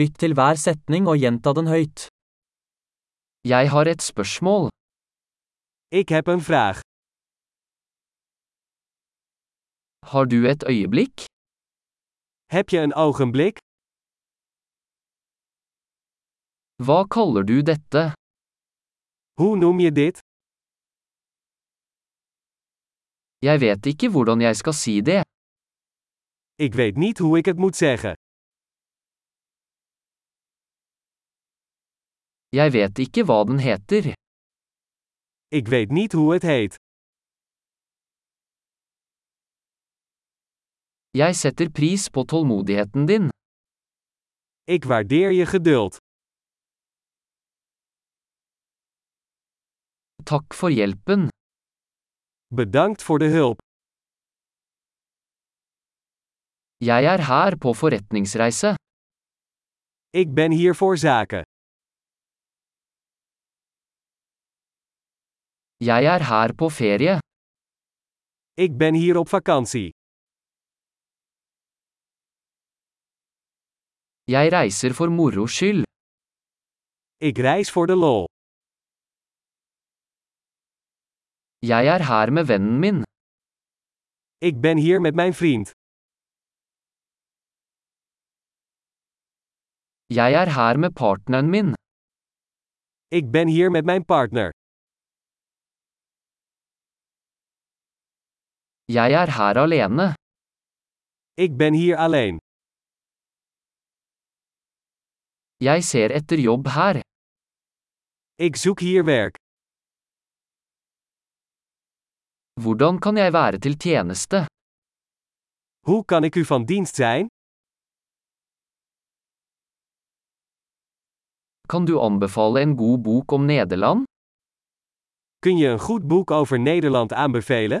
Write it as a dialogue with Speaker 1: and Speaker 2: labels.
Speaker 1: Lytt til hver setning og gjenta den høyt.
Speaker 2: Jeg har et spørsmål.
Speaker 3: Ik heb een vraag.
Speaker 2: Har du et øyeblikk?
Speaker 3: Heb je een ogenblik?
Speaker 2: Hva kaller du dette?
Speaker 3: Hoe noem je dit?
Speaker 2: Jeg vet ikke hvordan jeg skal si det.
Speaker 3: Ik weet niet hoe ik het moet zeggen.
Speaker 2: Jeg vet ikke hva den heter.
Speaker 3: Ik weet niet hoe het heet.
Speaker 2: Jeg setter pris på tålmodigheten din.
Speaker 3: Ik waardeer je geduld.
Speaker 2: Takk for hjelpen.
Speaker 3: Bedankt voor de hulp.
Speaker 2: Jeg er her på forretningsreise.
Speaker 3: Ik ben hier voor zaken.
Speaker 2: Jeg er her på ferie.
Speaker 3: Ik ben hier op vakantie.
Speaker 2: Jeg reiser for moro skyld.
Speaker 3: Ik reis voor de lol.
Speaker 2: Jeg er her med vennen min.
Speaker 3: Ik ben hier met mijn vriend.
Speaker 2: Jeg er her med partneren min.
Speaker 3: Ik ben hier met mijn partner.
Speaker 2: Jeg er her alene.
Speaker 3: Ik ben hier alleen.
Speaker 2: Jeg ser etter jobb her.
Speaker 3: Ik zoek hier werk.
Speaker 2: Hvordan kan jeg være til tjeneste?
Speaker 3: Hoe kan ik u van dienst zijn?
Speaker 2: Kan du anbefale en god bok om Nederland?
Speaker 3: Kun je een goed boek over Nederland aanbevelen?